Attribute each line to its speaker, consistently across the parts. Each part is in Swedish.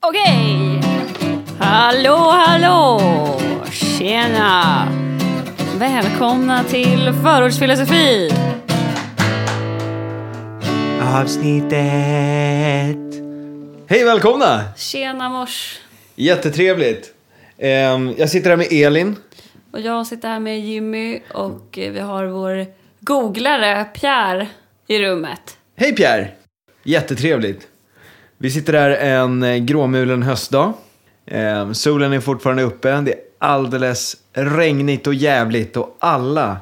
Speaker 1: Okej! Hallå, hallå! Tjena! Välkomna till Förortsfilosofi!
Speaker 2: Avsnittet. Hej välkomna!
Speaker 1: Tjena mors!
Speaker 2: Jättetrevligt. Ehm, jag sitter här med Elin.
Speaker 1: Och jag sitter här med Jimmy och eh, vi har vår googlare Pierre i rummet.
Speaker 2: Hej Pierre! Jättetrevligt. Vi sitter här en eh, gråmulen höstdag. Ehm, solen är fortfarande uppe. Det är alldeles regnigt och jävligt och alla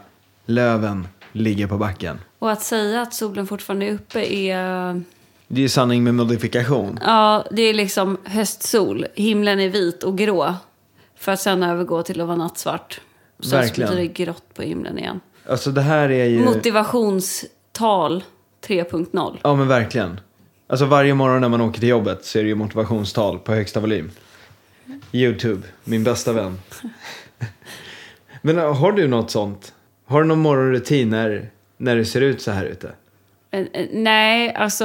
Speaker 2: löven ligger på backen.
Speaker 1: Och att säga att solen fortfarande är uppe är...
Speaker 2: Det är ju sanning med modifikation.
Speaker 1: Ja, det är liksom höstsol. Himlen är vit och grå. För att sen övergå till att vara nattsvart. Sen
Speaker 2: Verkligen.
Speaker 1: blir det grått på himlen igen.
Speaker 2: Alltså det här är ju...
Speaker 1: Motivationstal 3.0.
Speaker 2: Ja men verkligen. Alltså varje morgon när man åker till jobbet så är det ju motivationstal på högsta volym. Youtube, min bästa vän. men äh, har du något sånt? Har du någon morgonrutin när, när det ser ut så här ute?
Speaker 1: Eh, eh, Nej, alltså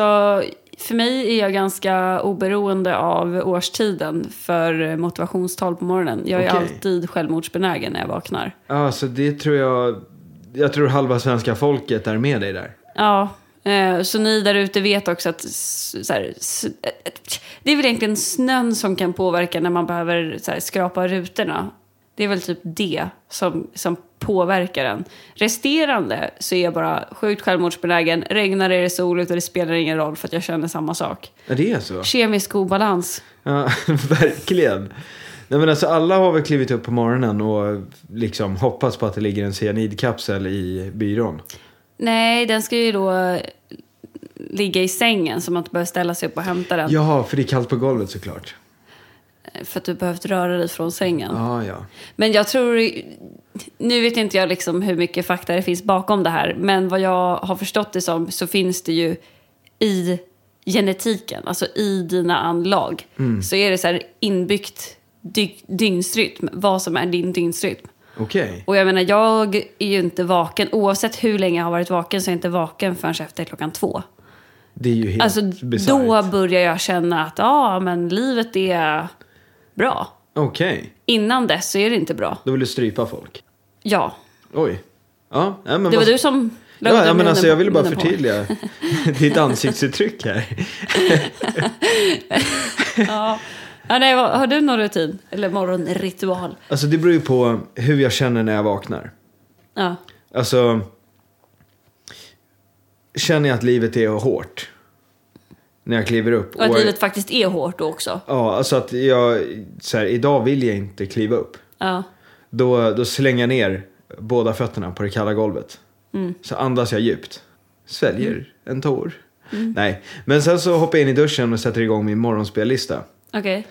Speaker 1: för mig är jag ganska oberoende av årstiden för motivationstal på morgonen. Jag är
Speaker 2: Okej.
Speaker 1: alltid självmordsbenägen när jag vaknar.
Speaker 2: Ja, så det tror jag... Jag tror halva svenska folket är med dig där.
Speaker 1: Ja, eh, så ni där ute vet också att s- så här, s- eh, eh, det är väl egentligen snön som kan påverka när man behöver så här, skrapa rutorna. Det är väl typ det som, som påverkar en. Resterande så är jag bara sjukt självmordsbenägen. Regnar det är det sol ute, det spelar ingen roll för att jag känner samma sak.
Speaker 2: Ja, det är så?
Speaker 1: Kemisk obalans.
Speaker 2: Ja, verkligen. Nej, men alltså, alla har väl klivit upp på morgonen och liksom hoppas på att det ligger en cyanidkapsel i byrån.
Speaker 1: Nej, den ska ju då eh, ligga i sängen så man inte behöver ställa sig upp och hämta den.
Speaker 2: Ja, för det är kallt på golvet såklart.
Speaker 1: För att du behövt röra dig från sängen.
Speaker 2: Ja, ja.
Speaker 1: Men jag tror... Nu vet inte jag liksom hur mycket fakta det finns bakom det här. Men vad jag har förstått det som så finns det ju i genetiken, alltså i dina anlag. Så är det så här inbyggt dy- dygnsrytm, vad som är din dygnsrytm.
Speaker 2: Okej.
Speaker 1: Och jag menar, jag är ju inte vaken. Oavsett hur länge jag har varit vaken så är jag inte vaken förrän efter klockan två.
Speaker 2: Det är ju helt
Speaker 1: Alltså,
Speaker 2: bisarrt.
Speaker 1: då börjar jag känna att ja, men livet är bra.
Speaker 2: Okej,
Speaker 1: Innan dess så är det inte bra.
Speaker 2: då vill du strypa folk.
Speaker 1: Ja,
Speaker 2: Oj. Ja, nej, men
Speaker 1: det var
Speaker 2: vad-
Speaker 1: du som la
Speaker 2: Ja, ja,
Speaker 1: undan
Speaker 2: men
Speaker 1: munnen
Speaker 2: alltså
Speaker 1: på-
Speaker 2: jag ville bara
Speaker 1: munnen på mig.
Speaker 2: förtydliga ditt ansiktsuttryck här.
Speaker 1: Ja. Ja, nej, vad- har du någon rutin? Eller morgonritual?
Speaker 2: Alltså det beror ju på hur jag känner när jag vaknar.
Speaker 1: Ja.
Speaker 2: Alltså, känner jag att livet är hårt när jag kliver upp?
Speaker 1: Och att livet faktiskt är hårt då också.
Speaker 2: Ja, alltså att jag, så här, idag vill jag inte kliva upp.
Speaker 1: Ja.
Speaker 2: Då, då slänger jag ner båda fötterna på det kalla golvet. Så andas jag djupt. Sväljer en tår. Nej, men sen så hoppar jag in i duschen och sätter igång min morgonspellista.
Speaker 1: Okej.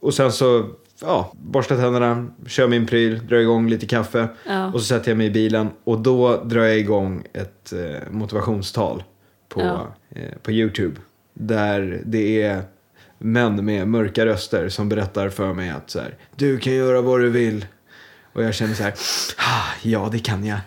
Speaker 2: Och sen så, ja, borstar tänderna, kör min pryl, drar igång lite kaffe.
Speaker 1: Ja.
Speaker 2: Och så sätter jag mig i bilen och då drar jag igång ett eh, motivationstal på,
Speaker 1: Ja.
Speaker 2: eh, på YouTube. Där det är män med mörka röster som berättar för mig att så här, du kan göra vad du vill. Och jag känner så här, ah, ja det kan jag.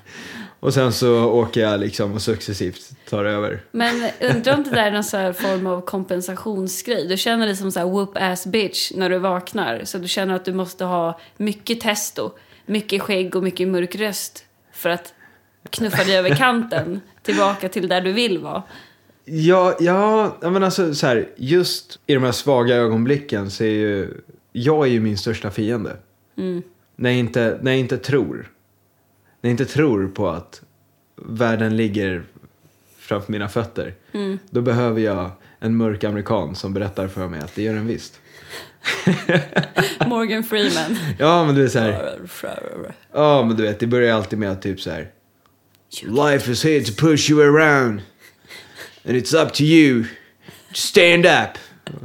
Speaker 2: Och sen så åker jag liksom och successivt tar över.
Speaker 1: Men undrar om det där är någon så här form av kompensationsgrej. Du känner dig som så här whoop ass bitch när du vaknar. Så du känner att du måste ha mycket testo, mycket skägg och mycket mörk röst för att knuffa dig över kanten tillbaka till där du vill vara.
Speaker 2: Ja, ja, ja, men alltså så här, just i de här svaga ögonblicken så är ju, jag är ju min största fiende. När, jag inte, när jag inte tror. När jag inte tror på att världen ligger framför mina fötter.
Speaker 1: Mm.
Speaker 2: Då behöver jag en mörk amerikan som berättar för mig att det gör den visst.
Speaker 1: Morgan Freeman.
Speaker 2: Ja, men du är så här, ja men du vet, det börjar ju alltid med att typ så här. Life is here to push you around. And it's up to you. to Stand up.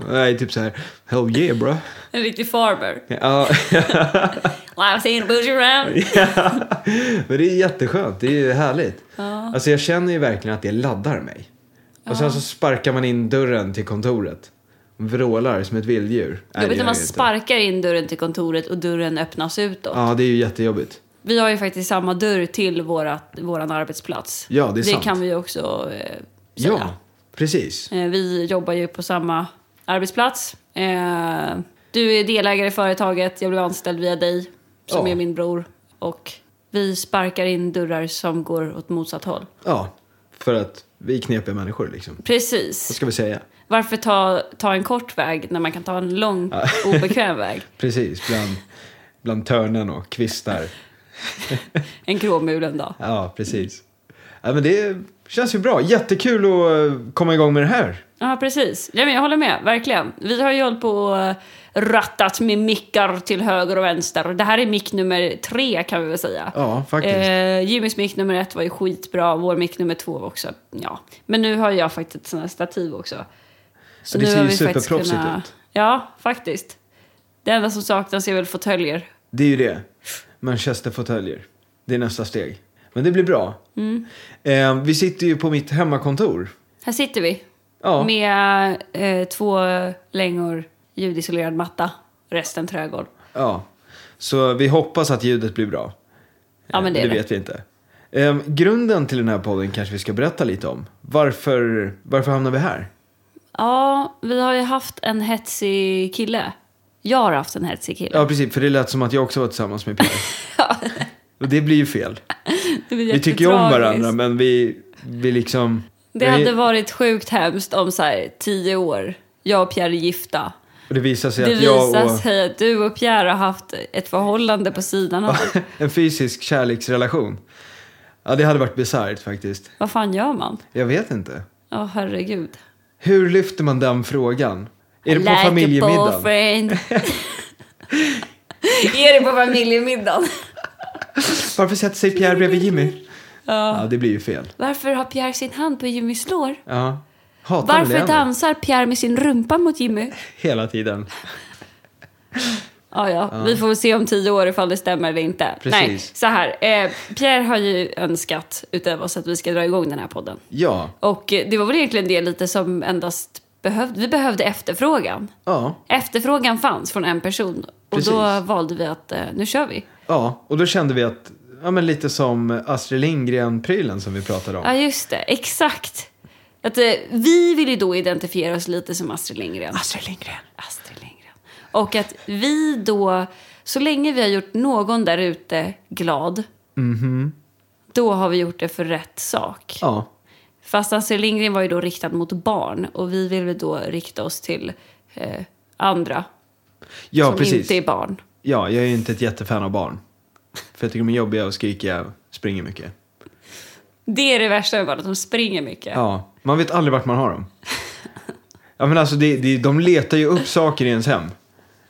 Speaker 2: Nej, typ så här. Hell yeah bro.
Speaker 1: En riktig farmer.
Speaker 2: Ja,
Speaker 1: Life's in a bush around.
Speaker 2: men det är jätteskönt. Det är ju härligt.
Speaker 1: Ja.
Speaker 2: Alltså jag känner ju verkligen att det laddar mig. Och sen så sparkar man in dörren till kontoret. Vrålar som ett vilddjur. Nej, det gör
Speaker 1: Jobbigt när man
Speaker 2: jag inte.
Speaker 1: sparkar in dörren till kontoret och dörren öppnas utåt.
Speaker 2: Ja, det är ju jättejobbigt.
Speaker 1: Vi har ju faktiskt samma dörr till våra, våran arbetsplats.
Speaker 2: Ja, det är
Speaker 1: Det
Speaker 2: sant.
Speaker 1: kan vi ju också eh, säga.
Speaker 2: Ja, precis.
Speaker 1: Eh, Vi jobbar ju på samma arbetsplats. Eh, Eh, du är delägare i företaget, jag blev anställd via dig som
Speaker 2: Ja.
Speaker 1: är min bror. Och vi sparkar in dörrar som går åt motsatt håll.
Speaker 2: Ja, för att vi är knepiga människor liksom. Vad
Speaker 1: Precis.
Speaker 2: ska vi säga?
Speaker 1: Varför ta, ta en kort väg när man kan ta en lång obekväm väg?
Speaker 2: Precis, bland, bland törnen och kvistar.
Speaker 1: En gråmulen dag.
Speaker 2: Ja, precis. Ja, men det känns ju bra. Jättekul att eh, komma igång med det här.
Speaker 1: Ja, precis. Ja, men jag håller med, verkligen. Vi har ju hållit på och eh, rattat med mickar till höger och vänster. Det här är mick nummer tre kan vi väl säga.
Speaker 2: Ja, faktiskt.
Speaker 1: Eh, Jimmys mick nummer ett var ju skitbra, vår mick nummer två var också, ja. Men nu har jag faktiskt ett sånt här stativ också. Så
Speaker 2: Ja, det ser
Speaker 1: har
Speaker 2: ju
Speaker 1: vi faktiskt
Speaker 2: superproffsigt ut.
Speaker 1: Ja, faktiskt. Det enda som saknas är väl fåtöljer.
Speaker 2: Det är ju det. Manchesterfåtöljer. Det är nästa steg. Men det blir bra.
Speaker 1: Mm.
Speaker 2: Eh, vi sitter ju på mitt hemmakontor.
Speaker 1: Här sitter vi
Speaker 2: Ja,
Speaker 1: med eh, två längor ljudisolerad matta, resten trägolv.
Speaker 2: ja. Så vi hoppas att ljudet blir bra.
Speaker 1: Ja, men det är det.
Speaker 2: vet vi inte. Eh, grunden till den här podden kanske vi ska berätta lite om. Varför, varför hamnar vi här?
Speaker 1: Ja, vi har ju haft en hetsig kille. Jag har haft en hetsig kille.
Speaker 2: Ja, precis. För det lät som att jag också var tillsammans med Pelle. Och det blir ju fel.
Speaker 1: Det blir
Speaker 2: Vi tycker ju om
Speaker 1: jättetragiskt.
Speaker 2: varandra, men vi, vi liksom...
Speaker 1: Det
Speaker 2: vi-
Speaker 1: hade varit sjukt hemskt om så här, tio år, jag och Pierre är gifta.
Speaker 2: och det visar sig
Speaker 1: Det
Speaker 2: att jag
Speaker 1: visar
Speaker 2: och...
Speaker 1: sig att du och Pierre har haft ett förhållande på sidan av.
Speaker 2: en fysisk kärleksrelation. Ja, det hade varit bisarrt faktiskt.
Speaker 1: Vad fan gör man?
Speaker 2: Jag vet inte.
Speaker 1: Ja, herregud.
Speaker 2: Hur lyfter man den frågan? Är det på
Speaker 1: Like a
Speaker 2: familjemiddagen?
Speaker 1: boyfriend. är det på familjemiddagen?
Speaker 2: Varför sätter sig Pierre bredvid Jimmy?
Speaker 1: Ja.
Speaker 2: Ja, det blir ju fel.
Speaker 1: Varför har Pierre sin hand på Jimmys lår?
Speaker 2: Ja. Hatar han
Speaker 1: Varför
Speaker 2: det ändå?
Speaker 1: dansar Pierre med sin rumpa mot Jimmy?
Speaker 2: Hela tiden.
Speaker 1: Ja, ja. Vi får väl se om tio år ifall det stämmer eller inte.
Speaker 2: Precis.
Speaker 1: Nej, så här. Eh, Pierre har ju önskat utöver oss att vi ska dra igång den här podden.
Speaker 2: Ja.
Speaker 1: Och eh, det var väl egentligen det lite som endast behövde. Vi behövde efterfrågan.
Speaker 2: Ja.
Speaker 1: Efterfrågan fanns från en person. Och
Speaker 2: Precis.
Speaker 1: då valde vi att eh, nu kör vi.
Speaker 2: Ja, och då kände vi att, ja men lite som Astrid Lindgren-prylen som vi pratade om.
Speaker 1: Ja, just det. Exakt. Att, eh, vi vill ju då identifiera oss lite som Astrid Lindgren.
Speaker 2: Astrid Lindgren.
Speaker 1: Astrid Lindgren. Och att vi då, så länge vi har gjort någon där ute glad,
Speaker 2: Mm-hmm.
Speaker 1: då har vi gjort det för rätt sak.
Speaker 2: Ja,
Speaker 1: Fast Astrid Lindgren var ju då riktad mot barn och vi vill väl då rikta oss till eh, andra
Speaker 2: ja
Speaker 1: som
Speaker 2: precis.
Speaker 1: inte är barn.
Speaker 2: Ja, jag är ju inte ett jättefan av barn. För jag tycker de är jobbiga och skrikiga och springer mycket.
Speaker 1: Det är det värsta med barn, att de springer mycket.
Speaker 2: Ja, man vet aldrig vart man har dem. Ja men alltså, det, det, de letar ju upp saker i ens hem.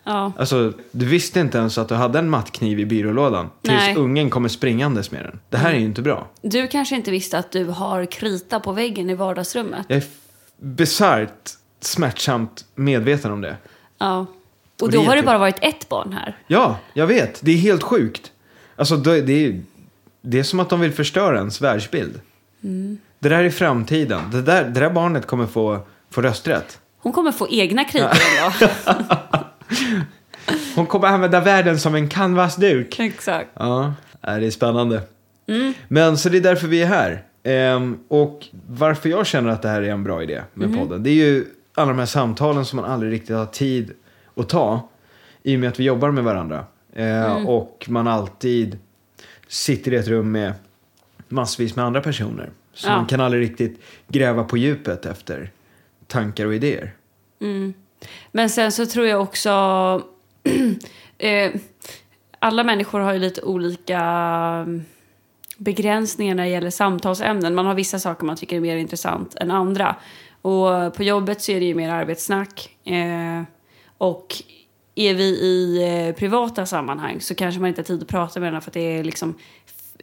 Speaker 1: Ja.
Speaker 2: Alltså, du visste inte ens att du hade en mattkniv i byrålådan. Tills
Speaker 1: Nej. Mm.
Speaker 2: ungen kommer springandes med den. Det här är ju inte bra.
Speaker 1: Du kanske inte visste att du har krita på väggen i vardagsrummet.
Speaker 2: Jag är f- bisarrt smärtsamt medveten om det.
Speaker 1: Ja. Och,
Speaker 2: Och det
Speaker 1: då
Speaker 2: är
Speaker 1: har det
Speaker 2: jätte-
Speaker 1: bara varit ett barn här.
Speaker 2: Ja, jag vet. Det är helt sjukt. Alltså, det, det, är, det är som att de vill förstöra ens världsbild. Det där är framtiden. Det där, det där barnet kommer få, få rösträtt.
Speaker 1: Hon kommer få egna kritor en dag.
Speaker 2: Hon kommer använda världen som en canvasduk.
Speaker 1: Exakt.
Speaker 2: Ja, äh, det är spännande. Men så det är därför vi är här. Ehm, och varför jag känner att det här är en bra idé med podden. Det är ju alla de här samtalen som man aldrig riktigt har tid att ta. I och med att vi jobbar med varandra. Ehm, Och man alltid sitter i ett rum med massvis med andra personer. Så
Speaker 1: Ja.
Speaker 2: man kan aldrig riktigt gräva på djupet efter tankar och idéer.
Speaker 1: Mm. Men sen så tror jag också... eh, alla människor har ju lite olika mm, begränsningar när det gäller samtalsämnen. Man har vissa saker man tycker är mer intressant än andra. Och på jobbet så är det ju mer arbetssnack. Eh, och är vi i eh, privata sammanhang så kanske man inte har tid att prata med varandra för att det är liksom...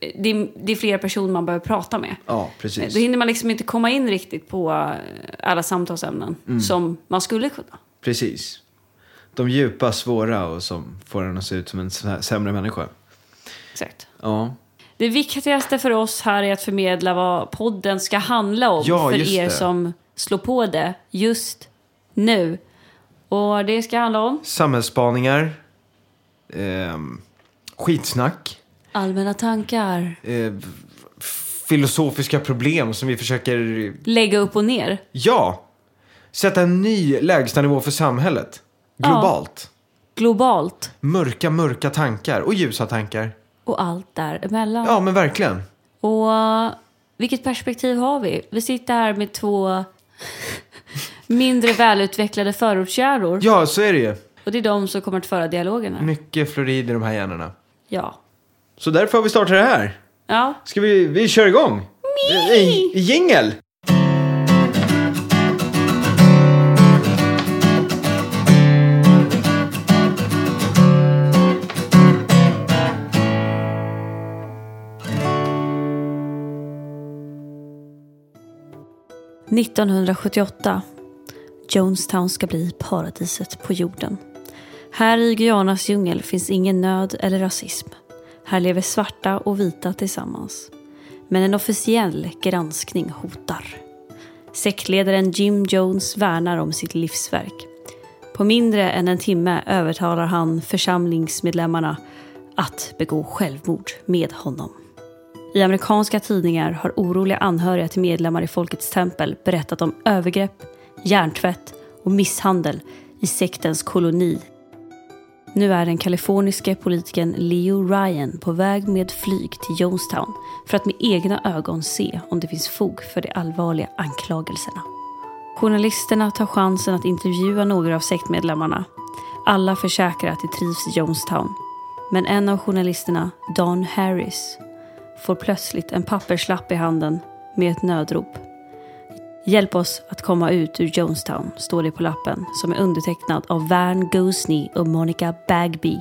Speaker 1: Det är, det är flera personer man behöver prata med.
Speaker 2: Ja,
Speaker 1: Då
Speaker 2: precis.
Speaker 1: hinner man liksom inte komma in riktigt på eh, alla samtalsämnen
Speaker 2: Mm.
Speaker 1: som man skulle kunna.
Speaker 2: Precis. De djupa, svåra och som får en att se ut som en sä- sämre människa.
Speaker 1: Exakt.
Speaker 2: Ja,
Speaker 1: Det viktigaste för oss här är att förmedla vad podden ska handla om
Speaker 2: Ja,
Speaker 1: för
Speaker 2: just
Speaker 1: er
Speaker 2: det.
Speaker 1: som slår på det just nu. Och det ska handla om
Speaker 2: samhällsspaningar, ehm, skitsnack,
Speaker 1: allmänna tankar,
Speaker 2: eh, f- filosofiska problem som vi försöker,
Speaker 1: lägga upp och ner.
Speaker 2: ja, sätta en ny lägstanivå för samhället.
Speaker 1: Globalt.
Speaker 2: Globalt.
Speaker 1: globalt
Speaker 2: Mörka, mörka tankar och ljusa tankar.
Speaker 1: och allt däremellan.
Speaker 2: Ja, men verkligen.
Speaker 1: Och eh, vilket perspektiv har vi? Vi sitter här med två mindre välutvecklade förortskärnor.
Speaker 2: Ja, så är det ju.
Speaker 1: Och det är de som kommer att föra dialogerna.
Speaker 2: Mycket fluorid i de här hjärnorna.
Speaker 1: Ja.
Speaker 2: Så därför har vi startat det här.
Speaker 1: Ja.
Speaker 2: Ska vi, vi kör igång? Nej! Jingel!
Speaker 1: Mm. 1978. Jonestown ska bli paradiset på jorden. Här i Guyanas djungel finns ingen nöd eller rasism. Här lever svarta och vita tillsammans. Men en officiell granskning hotar. Sektledaren Jim Jones värnar om sitt livsverk. På mindre än en timme övertalar han församlingsmedlemmarna att begå självmord med honom. I amerikanska tidningar har oroliga anhöriga till medlemmar i Folkets tempel berättat om övergrepp, hjärntvätt och misshandel i sektens koloni. Nu är den kaliforniske politikern Leo Ryan på väg med flyg till Jonestown för att med egna ögon se om det finns fog för de allvarliga anklagelserna. Journalisterna tar chansen att intervjua några av sektmedlemmarna. Alla försäkrar att de trivs i Jonestown. Men en av journalisterna, Don Harris, får plötsligt en papperslapp i handen med ett nödrop. Hjälp oss att komma ut ur Jonestown, står det på lappen som är undertecknad av Van Goosney och Monica Bagby.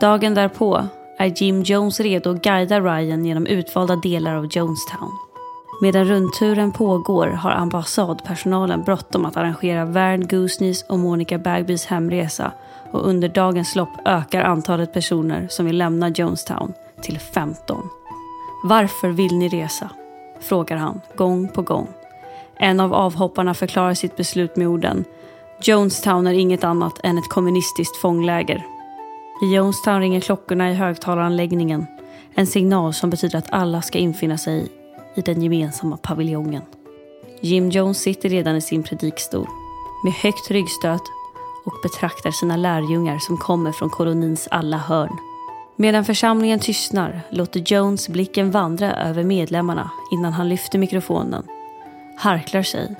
Speaker 1: Dagen därpå är Jim Jones redo att guida Ryan genom utvalda delar av Jonestown. Medan rundturen pågår har ambassadpersonalen bråttom att arrangera Vern Goosneys och Monica Bagbys hemresa och under dagens lopp ökar antalet personer som vill lämna Jonestown till 15. Varför vill ni resa? frågar han gång på gång. En av avhopparna förklarar sitt beslut med orden Jonestown är inget annat än ett kommunistiskt fångläger. I Jonestown ringer klockorna i högtalaranläggningen. En signal som betyder att alla ska infinna sig i den gemensamma paviljongen. Jim Jones sitter redan i sin predikstol med högt ryggstöt och betraktar sina lärjungar som kommer från kolonins alla hörn. Medan församlingen tystnar låter Jones blicken vandra över medlemmarna innan han lyfter mikrofonen. Harklar sig.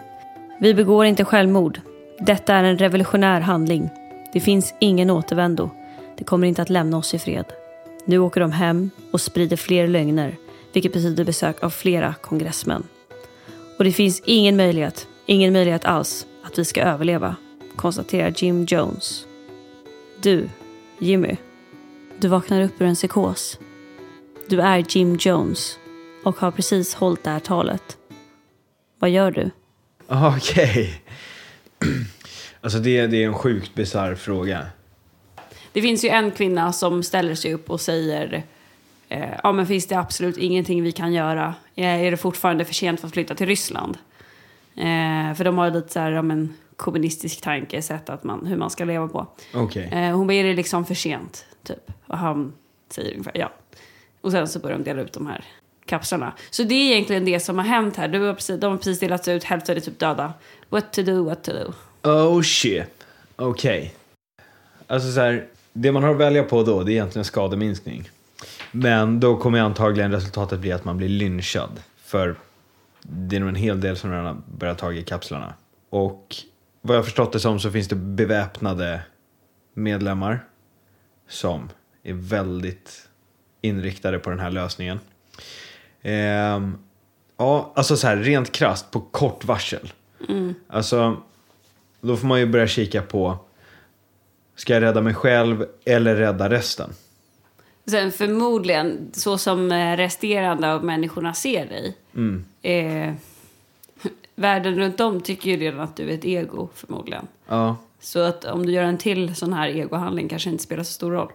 Speaker 1: Vi begår inte självmord. Detta är en revolutionär handling. Det finns ingen återvändo. Det kommer inte att lämna oss i fred. Nu åker de hem och sprider fler lögner, vilket betyder besök av flera kongressmän. Och det finns ingen möjlighet, ingen möjlighet alls, att vi ska överleva, konstaterar Jim Jones. Du, Jimmy, du vaknar upp ur en psykos. Du är Jim Jones och har precis hållit det här talet. Vad gör du?
Speaker 2: Okej. Alltså det, det är en sjukt bisarr fråga.
Speaker 1: Det finns ju en kvinna som ställer sig upp och säger eh, ja men finns det absolut ingenting vi kan göra? Eh, Är det fortfarande för sent för att flytta till Ryssland? Eh, för de har ju lite så här, ja men kommunistisk tankesätt att man, hur man ska leva på.
Speaker 2: Okej.
Speaker 1: Eh, hon bara, är det liksom för sent? Typ. Och han säger ungefär ja. Och sen så börjar de dela ut de här kapslarna. Så det är egentligen det som har hänt här. Du har precis, de har precis delats ut, hälften är typ döda. What to do, what to do.
Speaker 2: Oh shit. Okej. Alltså så här, det man har att välja på då det är egentligen skademinskning. Men då kommer antagligen resultatet bli att man blir lynchad. För det är nog en hel del som redan har börjat ta i kapslarna. Och vad jag har förstått det som så finns det beväpnade medlemmar som är väldigt inriktade på den här lösningen. Ehm, ja, alltså så här rent krasst på kort varsel. Alltså, då får man ju börja kika på, ska jag rädda mig själv eller rädda resten?
Speaker 1: Sen förmodligen, så som eh, resterande av människorna ser dig. Eh, världen runt om tycker ju redan att du är ett ego förmodligen.
Speaker 2: Ja,
Speaker 1: Så att om du gör en till sån här egohandling kanske inte spelar så stor roll.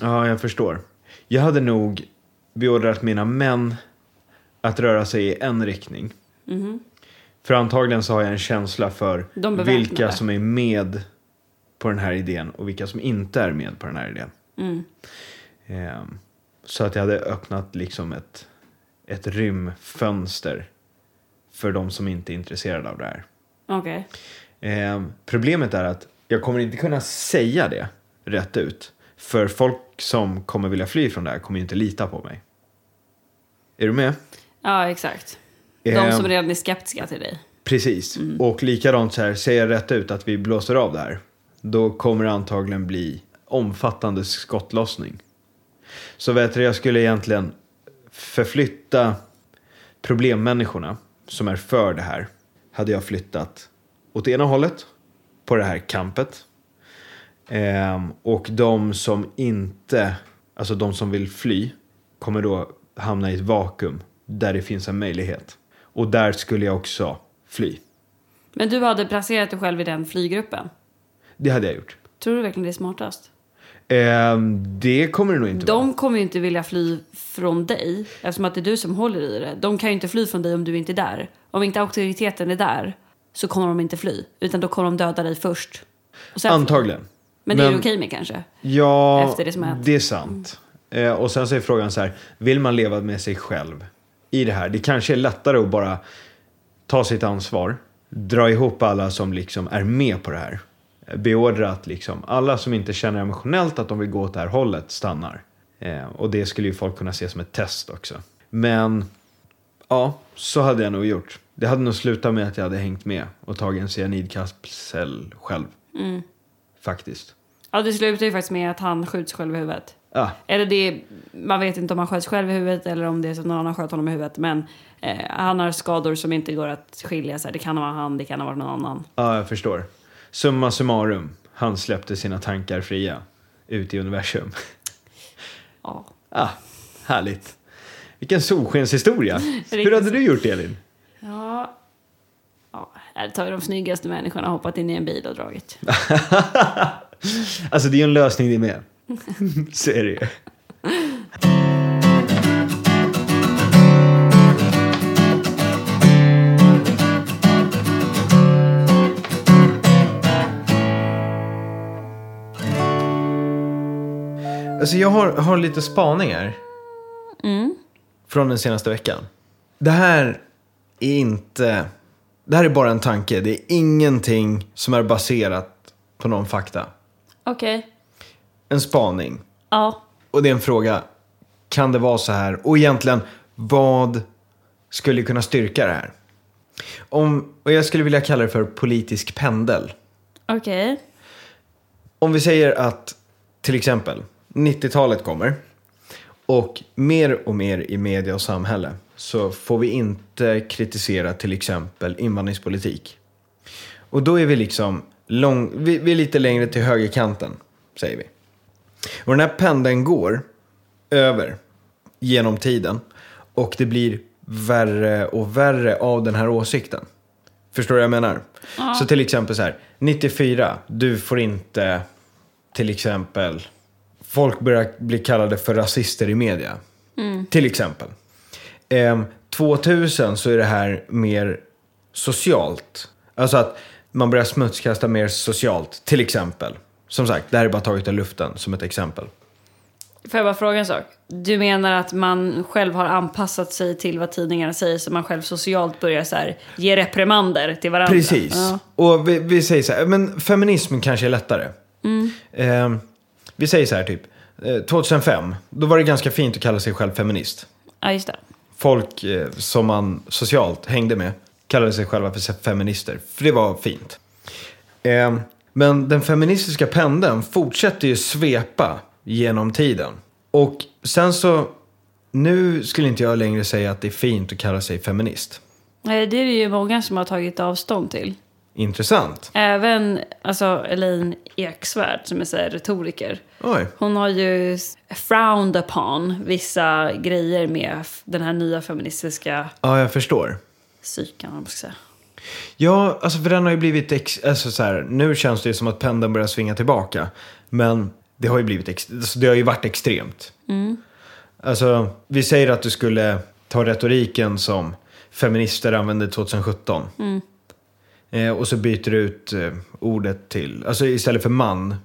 Speaker 2: ja jag förstår. Jag hade nog beordrat mina män att röra sig i en riktning.
Speaker 1: Mhm.
Speaker 2: För antagligen så har jag en känsla för
Speaker 1: De beväpnade.
Speaker 2: vilka som är med på den här idén och vilka som inte är med på den här idén.
Speaker 1: Mm.
Speaker 2: Ehm, så att jag hade öppnat liksom ett, ett rymdfönster för de som inte är intresserade av det här.
Speaker 1: Okej.
Speaker 2: Ehm, problemet är att
Speaker 3: Jag kommer inte kunna säga det rätt ut. För folk som kommer vilja fly från det här kommer ju inte lita på mig. Är du med?
Speaker 1: Ja, exakt.
Speaker 3: Ehm.
Speaker 1: De som Mm. redan är skeptiska till dig.
Speaker 3: Precis. Och likadant så här, säger jag rätt ut att vi blåser av det här. Då kommer det antagligen bli omfattande skottlossning. Så vet du, jag skulle egentligen förflytta problemmänniskorna som är för det här. Hade jag flyttat åt ena hållet på det här campet. Ehm, och de som inte, alltså de som vill fly, kommer då hamna i ett vakuum där det finns en möjlighet. Och där skulle jag också fly.
Speaker 1: Men du hade placerat dig själv i den flygruppen.
Speaker 3: Det hade jag gjort.
Speaker 1: Tror du verkligen det är smartast?
Speaker 3: Ehm, det kommer det nog inte vara.
Speaker 1: De kommer ju inte vilja fly från dig eftersom att det är du som håller i det. De kan ju inte fly från dig om du inte är där. Om inte auktoriteten är där så kommer de inte fly. Utan då kommer de döda dig först. Och sen-
Speaker 3: Antagligen.
Speaker 1: men det är
Speaker 3: men-
Speaker 1: du okej med kanske?
Speaker 3: Ja,
Speaker 1: Efter det som har hänt.
Speaker 3: är sant. Eh, och sen så är frågan så här, vill man leva med sig själv i det här? Det kanske är lättare att bara ta sitt ansvar, dra ihop alla som liksom är med på det här. eh, Beordra att liksom alla som inte känner emotionellt att de vill gå åt det här hållet stannar. Eh, och det skulle ju folk kunna se som ett test också. Men ja, så hade jag nog gjort. Det hade nog slutat med att jag hade hängt med och tagit en cyanidkapsel själv.
Speaker 1: Mm.
Speaker 3: Faktiskt.
Speaker 1: Ja, det slutar ju faktiskt med att han skjuts själv i huvudet.
Speaker 3: Ja,
Speaker 1: Eller det är, man vet inte om han sköts själv i huvudet eller om det är så att någon annan sköt honom i huvudet. Men eh, han har skador som inte går att skilja. Så här, det kan ha varit han, det kan ha varit någon annan.
Speaker 3: Ja, jag förstår. Summa summarum, han släppte sina tankar fria ut i universum.
Speaker 1: Ja.
Speaker 3: Ah, härligt. Vilken solskenshistoria. Hur hade du gjort Elin?
Speaker 1: Ja. ja. Här tar ju de snyggaste människorna och hoppat in i en bil och dragit.
Speaker 3: Alltså det är ju en lösning det med. Så är det ju.
Speaker 2: Alltså jag har, har lite spaningar. Från den senaste veckan. Det här är inte... Det här är bara en tanke. Det är ingenting som är baserat på någon fakta.
Speaker 1: Okej.
Speaker 2: En spaning.
Speaker 1: Ja.
Speaker 2: Och det är en fråga. Kan det vara så här? Och egentligen, vad skulle kunna styrka det här? Om, och jag skulle vilja kalla det för politisk pendel.
Speaker 1: Okej.
Speaker 2: Om vi säger att till exempel 90-talet kommer och mer och mer i media och samhälle så får vi inte kritisera till exempel invandringspolitik. Och då är vi liksom lång, vi, vi är lite längre till högerkanten, säger vi. Och den här pendeln går över genom tiden och det blir värre och värre av den här åsikten. Förstår du vad jag menar? Så till exempel så här, 94, du får inte till exempel, folk börjar bli kallade för rasister i media. Till exempel. Ehm, 2000 så är det här mer socialt. Alltså att man börjar smutskasta mer socialt, till exempel. Som sagt, det här är bara taget ur luften som ett exempel.
Speaker 1: Får jag bara fråga en sak? Du menar att man själv har anpassat sig till vad tidningarna säger så man själv socialt börjar så här, ge reprimander till varandra?
Speaker 2: Precis.
Speaker 1: Ja.
Speaker 2: Och vi, vi säger så här, men feminism kanske är lättare. Ehm, vi säger så här typ, eh, 2005, då var det ganska fint att kalla sig själv feminist.
Speaker 1: ja, just det.
Speaker 2: Folk eh, som man socialt hängde med kallade sig själva för se- feminister, för det var fint. Ehm, men den feministiska pendeln fortsätter ju svepa genom tiden. Och sen så, nu skulle inte jag längre säga att det är fint att kalla sig feminist.
Speaker 1: Nej, Det är det ju många som har tagit avstånd till.
Speaker 2: Intressant.
Speaker 1: Även alltså, Elaine Eksvärd som är så här, retoriker.
Speaker 2: Oj.
Speaker 1: Hon har ju s- frowned upon vissa grejer med f- den här nya feministiska
Speaker 2: Ja, jag förstår.
Speaker 1: psykan. om man ska säga.
Speaker 2: Ja, alltså för den har ju blivit... Ex- alltså så här, nu känns det ju som att pendeln börjar svinga tillbaka. Men det har ju blivit ex- alltså det har ju varit extremt.
Speaker 1: Mm.
Speaker 2: Alltså, vi säger att du skulle ta retoriken som feminister använde 2017.
Speaker 1: Mm.
Speaker 2: Eh, och så byter du ut eh, ordet till... Alltså istället för man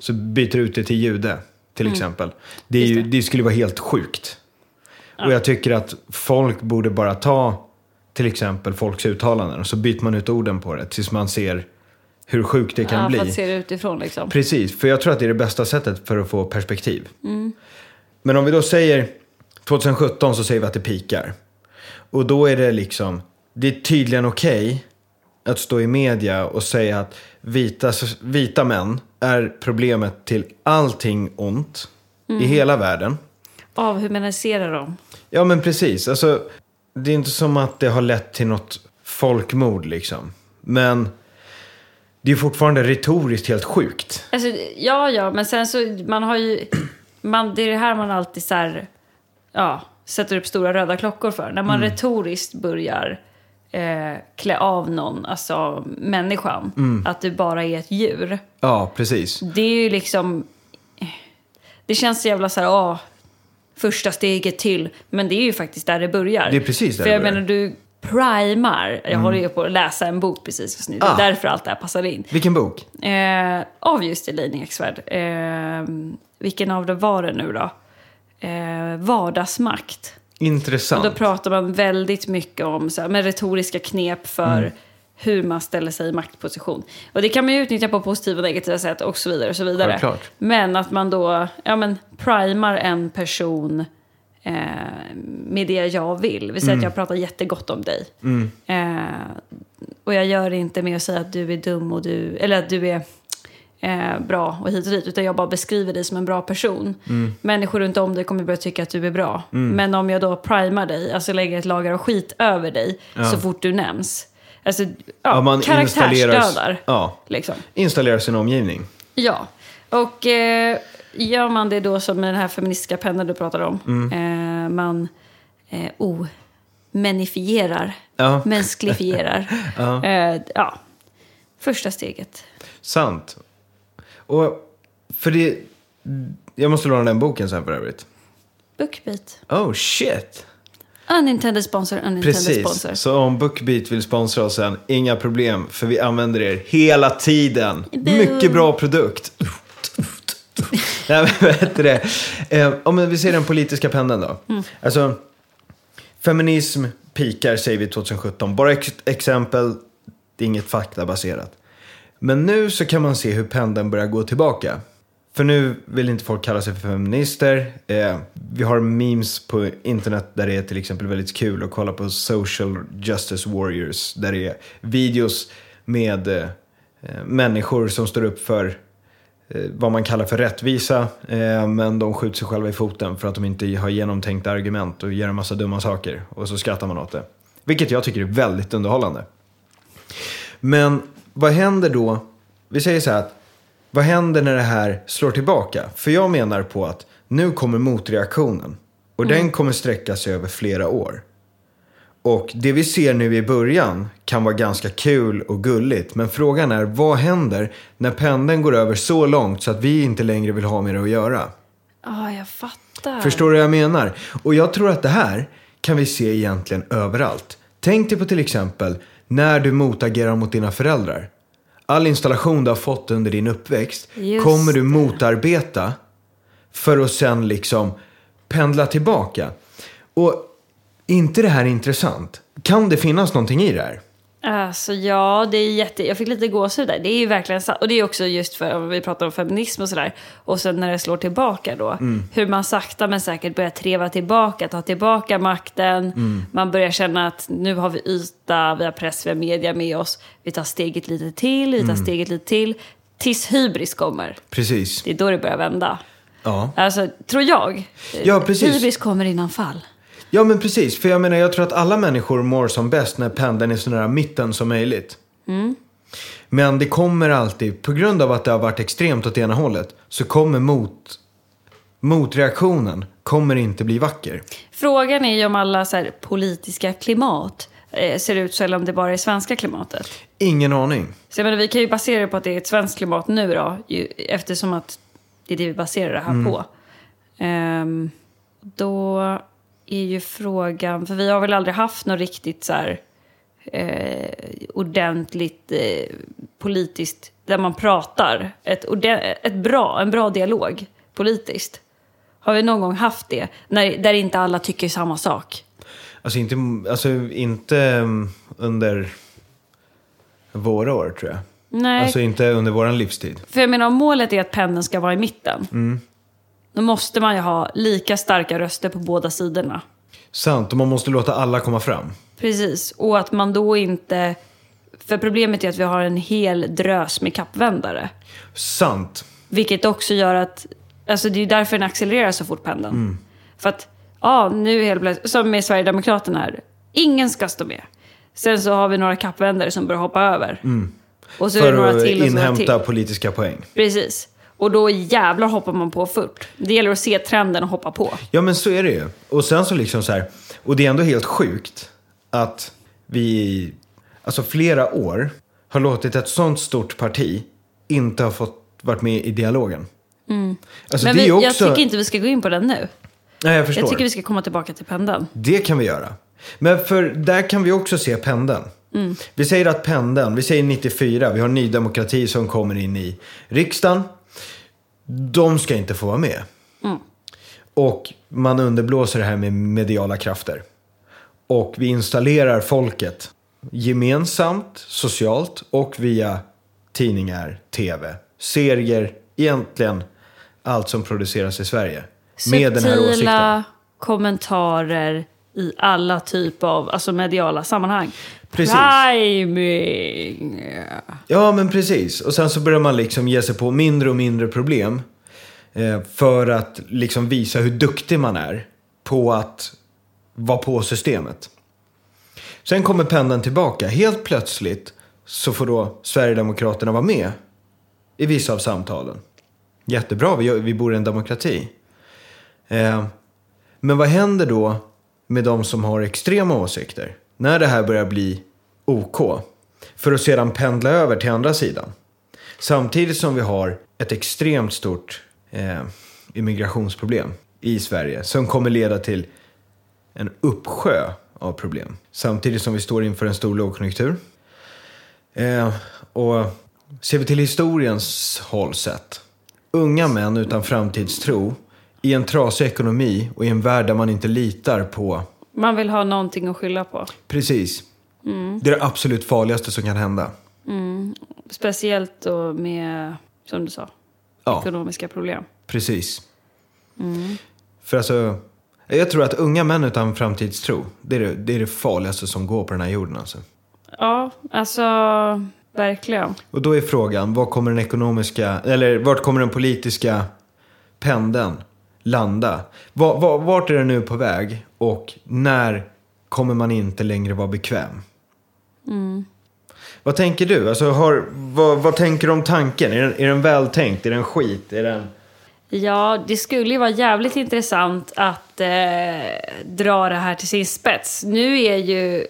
Speaker 2: så byter du ut det till jude, till exempel. Det, är
Speaker 1: Mm. Just
Speaker 2: ju,
Speaker 1: det.
Speaker 2: det skulle vara helt sjukt. Och jag tycker att folk borde bara ta till exempel folks uttalanden och så byter man ut orden på det tills man ser hur sjukt det kan
Speaker 1: ja,
Speaker 2: bli.
Speaker 1: för att se det utifrån liksom.
Speaker 2: Precis, för jag tror att det är det bästa sättet för att få perspektiv. Men om vi då säger 2017 så säger vi att det pikar. Och då är det liksom, det är tydligen okej att stå i media och säga att vita, vita män är problemet till allting ont i hela världen.
Speaker 1: Avhumanisera dem.
Speaker 2: Ja men precis, alltså det är inte som att det har lett till något folkmord liksom. Men det är fortfarande retoriskt helt sjukt.
Speaker 1: Alltså, ja, ja, men sen så, man har ju, man, det är det här man alltid så här, ja, sätter upp stora röda klockor för. När man
Speaker 2: Mm.
Speaker 1: retoriskt börjar eh, klä av någon, alltså människan,
Speaker 2: Mm.
Speaker 1: att du bara är ett djur.
Speaker 2: Ja, precis.
Speaker 1: Det är ju liksom, det känns så jävla så här, ja, första steget till. Men det är ju faktiskt där det börjar.
Speaker 2: Det är precis där
Speaker 1: För
Speaker 2: det
Speaker 1: jag
Speaker 2: börjar. Mm.
Speaker 1: menar, du primar, jag håller ju på att läsa en bok precis just nu, det
Speaker 2: Ah.
Speaker 1: är därför allt det här passar in.
Speaker 2: Vilken bok?
Speaker 1: Eh, av just Elaine Eksvärd. Eh, vilken av det var det nu då? Eh, vardagsmakt. Och
Speaker 2: Intressant.
Speaker 1: då pratar man väldigt mycket om så här, med retoriska knep för hur man ställer sig i maktposition. Och det kan man ju utnyttja på positiva och negativa sätt och så vidare. Och så vidare.
Speaker 2: Självklart.
Speaker 1: Men att man då ja, men, primar en person eh, med det jag vill. Vi säger att jag pratar jättegott om dig. Eh, och jag gör det inte med att säga att du är dum och du, eller att du är eh, bra och hit och dit. Utan jag bara beskriver dig som en bra person.
Speaker 2: Mm.
Speaker 1: Människor runt om dig kommer börja tycka att du är bra. Men om jag då primar dig, alltså lägger ett lager av skit över dig så fort du nämns. Alltså, ja,
Speaker 2: Ja, man
Speaker 1: karaktärsdödar.
Speaker 2: installerar, ja,
Speaker 1: Liksom.
Speaker 2: installerar sin omgivning.
Speaker 1: Ja, och eh, gör man det då som med den här feministiska pennan du pratade om.
Speaker 2: Mm.
Speaker 1: Eh, man eh, omenifierar,
Speaker 2: Ja.
Speaker 1: mänskligifierar. ja. Eh, ja, första steget.
Speaker 2: Sant. Och för det... Jag måste låna den boken sen för övrigt.
Speaker 1: Bookbeat.
Speaker 2: Oh shit!
Speaker 1: Unintended sponsor, unintended
Speaker 2: Precis.
Speaker 1: sponsor.
Speaker 2: Så om Bookbeat vill sponsra oss sen, inga problem. För vi använder er hela tiden. Mycket bra produkt. Nej men vad heter det? Eh, om vi ser den politiska pendeln då.
Speaker 1: Mm.
Speaker 2: Alltså, feminism pikar säger vi 2017. Bara ex- exempel, det är inget faktabaserat. Men nu så kan man se hur pendeln börjar gå tillbaka. För nu vill inte folk kalla sig för feminister. Eh, vi har memes på internet där det är till exempel väldigt kul att kolla på social justice warriors. Där det är videos med eh, eh, människor som står upp för eh, vad man kallar för rättvisa. Eh, men de skjuter sig själva i foten för att de inte har genomtänkta argument och gör en massa dumma saker. Och så skrattar man åt det. Vilket jag tycker är väldigt underhållande. Men vad händer då? Vi säger så här att vad händer när det här slår tillbaka? För jag menar på att nu kommer motreaktionen och den kommer sträcka sig över flera år. Och det vi ser nu i början kan vara ganska kul och gulligt. Men frågan är vad händer när pendeln går över så långt så att vi inte längre vill ha med det att göra?
Speaker 1: Ja, jag fattar.
Speaker 2: Förstår du vad jag menar? Och jag tror att det här kan vi se egentligen överallt. Tänk dig på till exempel när du motagerar mot dina föräldrar. All installation du har fått under din uppväxt
Speaker 1: Just
Speaker 2: kommer du
Speaker 1: det.
Speaker 2: motarbeta för att sen liksom pendla tillbaka. Och är inte det här intressant? Kan det finnas någonting i det här?
Speaker 1: Alltså ja, det är jätte... Jag fick lite gåshud där. Det är ju verkligen sant. Och det är också just för om vi pratar om feminism och sådär. Och sen när det slår tillbaka då.
Speaker 2: Mm.
Speaker 1: Hur man sakta men säkert börjar treva tillbaka, ta tillbaka makten.
Speaker 2: Mm.
Speaker 1: Man börjar känna att nu har vi yta, vi har press, vi har media med oss. Vi tar steget lite till, vi tar
Speaker 2: Mm.
Speaker 1: steget lite till. Tills hybris kommer.
Speaker 2: Precis.
Speaker 1: Det är då det börjar vända.
Speaker 2: Ja.
Speaker 1: Alltså, tror jag.
Speaker 2: Ja, precis.
Speaker 1: Hybris kommer innan fall.
Speaker 2: Ja men precis, för jag menar jag tror att alla människor mår som bäst när pendeln är så nära mitten som möjligt.
Speaker 1: Mm.
Speaker 2: Men det kommer alltid, på grund av att det har varit extremt åt ena hållet, så kommer mot, motreaktionen kommer inte bli vacker.
Speaker 1: Frågan är ju om alla så här, politiska klimat eh, ser ut så eller om det bara är svenska klimatet.
Speaker 2: Ingen aning.
Speaker 1: Så jag menar, vi kan ju basera det på att det är ett svenskt klimat nu då, ju, eftersom att det är det vi baserar det här på. Ehm, då är ju frågan, för vi har väl aldrig haft något riktigt så här eh, ordentligt eh, politiskt, där man pratar, ett, orde- ett bra, en bra dialog politiskt. Har vi någon gång haft det, när, där inte alla tycker samma sak?
Speaker 2: Alltså inte, alltså inte mm, under våra år tror jag.
Speaker 1: Nej,
Speaker 2: Alltså inte under vår livstid.
Speaker 1: för jag menar om målet är att pendeln ska vara i mitten.
Speaker 2: Mm.
Speaker 1: Då måste man ju ha lika starka röster på båda sidorna.
Speaker 2: Sant, och man måste låta alla komma fram.
Speaker 1: Precis, och att man då inte... För problemet är att vi har en hel drös med kappvändare.
Speaker 2: Sant.
Speaker 1: Vilket också gör att... Alltså det är ju därför den accelererar så fort pendeln.
Speaker 2: Mm.
Speaker 1: För att, ja, nu helt plötsligt... Som med Sverigedemokraterna här. Ingen ska stå med. Sen så har vi några kappvändare som börjar hoppa över. Och så är det
Speaker 2: Mm. För
Speaker 1: några
Speaker 2: att
Speaker 1: till och så några
Speaker 2: inhämta
Speaker 1: till.
Speaker 2: politiska poäng.
Speaker 1: Precis. Och då jävlar hoppar man på fort. Det gäller att se trenden och hoppa på.
Speaker 2: Ja men så är det ju. Och sen så liksom så här, och det är ändå helt sjukt att vi i alltså flera år har låtit ett sånt stort parti inte ha fått varit med i dialogen. Alltså
Speaker 1: Mm. Men
Speaker 2: det
Speaker 1: vi,
Speaker 2: är
Speaker 1: jag
Speaker 2: också...
Speaker 1: tycker inte vi ska gå in på den nu.
Speaker 2: Nej jag förstår.
Speaker 1: Jag tycker vi ska komma tillbaka till pendeln.
Speaker 2: Det kan vi göra. Men för där kan vi också se pendeln. Vi säger att pendeln, vi säger 94, vi har Ny Demokrati som kommer in i riksdagen. De ska inte få vara med. Och man underblåser det här med mediala krafter. Och vi installerar folket gemensamt, socialt och via tidningar, tv, serier, egentligen allt som produceras i Sverige. Med den här åsikten.
Speaker 1: Subtila kommentarer i alla typer av alltså mediala sammanhang.
Speaker 2: Precis.
Speaker 1: Priming!
Speaker 2: Ja, men precis. Och sen så börjar man liksom ge sig på mindre och mindre problem. Eh, för att liksom visa hur duktig man är på att vara på systemet. Sen kommer pendeln tillbaka. Helt plötsligt så får då Sverigedemokraterna vara med i vissa av samtalen. Jättebra, vi, gör- vi bor i en demokrati. Eh, men vad händer då med de som har extrema åsikter? När det här börjar bli OK? För att sedan pendla över till andra sidan. Samtidigt som vi har ett extremt stort eh, immigrationsproblem i Sverige som kommer leda till en uppsjö av problem. Samtidigt som vi står inför en stor lågkonjunktur. Eh, och ser vi till historiens håll sett. Unga män utan framtidstro i en trasig ekonomi och i en värld där man inte litar på...
Speaker 1: Man vill ha någonting att skylla på.
Speaker 2: Precis. Det är det absolut farligaste som kan hända.
Speaker 1: Mm. Speciellt då med, som du sa,
Speaker 2: Ja.
Speaker 1: ekonomiska problem.
Speaker 2: Precis. För alltså, jag tror att unga män utan framtidstro, det är det, det är det farligaste som går på den här jorden alltså.
Speaker 1: Ja, alltså verkligen.
Speaker 2: Och då är frågan, vad kommer den ekonomiska, eller vart kommer den politiska pendeln landa? Va- va- Vart är den nu på väg och när kommer man inte längre vara bekväm? Vad tänker du? Alltså, har, vad, vad tänker du om tanken? Är den, är den vältänkt? Är den skit? Är den...
Speaker 1: Ja, det skulle ju vara jävligt intressant att eh, dra det här till sin spets. Nu är ju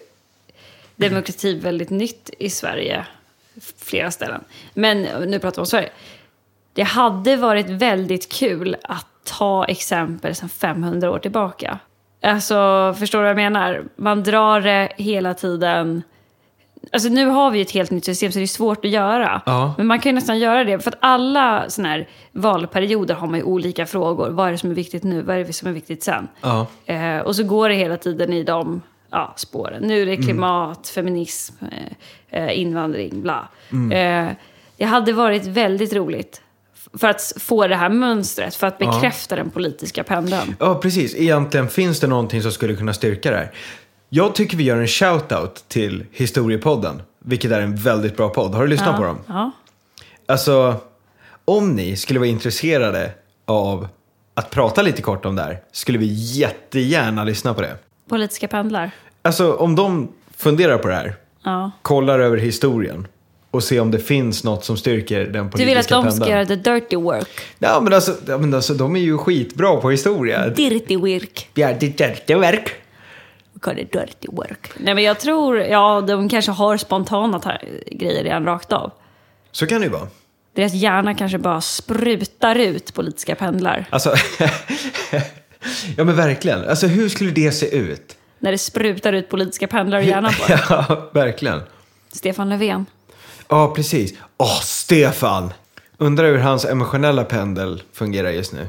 Speaker 1: demokrati väldigt nytt i Sverige, flera ställen. Men nu pratar vi om Sverige. Det hade varit väldigt kul att ta exempel sedan 500 år tillbaka. Alltså, förstår du vad jag menar? Man drar det hela tiden. Alltså nu har vi ju ett helt nytt system så det är svårt att göra.
Speaker 2: Ja.
Speaker 1: Men man kan ju nästan göra det. För att alla sådana här valperioder har man ju olika frågor. Vad är det som är viktigt nu? Vad är det som är viktigt sen?
Speaker 2: Ja.
Speaker 1: Eh, och så går det hela tiden i de ja, spåren. Nu är
Speaker 2: Mm.
Speaker 1: det klimat, feminism, eh, eh, invandring, bla.
Speaker 2: Mm.
Speaker 1: Eh, det hade varit väldigt roligt f- för att s- få det här mönstret, för att bekräfta den politiska pendeln.
Speaker 2: Ja, precis. Egentligen finns det någonting som skulle kunna styrka det här. Jag tycker vi gör en shout-out till Historiepodden, vilket är en väldigt bra podd. Har du lyssnat på dem?
Speaker 1: Ja.
Speaker 2: Alltså, om ni skulle vara intresserade av att prata lite kort om det här, skulle vi jättegärna lyssna på det.
Speaker 1: Politiska pendlar.
Speaker 2: Alltså, om de funderar på det här,
Speaker 1: Ja.
Speaker 2: kollar över historien och ser om det finns något som styrker den
Speaker 1: Du
Speaker 2: politiska
Speaker 1: vill att de ska
Speaker 2: pendeln.
Speaker 1: göra the dirty work,
Speaker 2: Ja, men alltså, ja, men alltså, de är ju skitbra på historia.
Speaker 1: dirty work.
Speaker 2: Ja, det är det verk.
Speaker 1: We call it dirty work. Nej men jag tror, ja de kanske har spontana ta- grejer redan rakt av.
Speaker 2: Så kan det ju vara.
Speaker 1: Deras hjärna kanske bara sprutar ut politiska pendlar.
Speaker 2: Alltså, ja men verkligen. Alltså hur skulle det se ut?
Speaker 1: När det sprutar ut politiska pendlar i hjärnan på en.
Speaker 2: Ja, verkligen.
Speaker 1: Stefan Löfven.
Speaker 2: Ja, precis. Åh, Stefan! Undrar hur hans emotionella pendel fungerar just nu.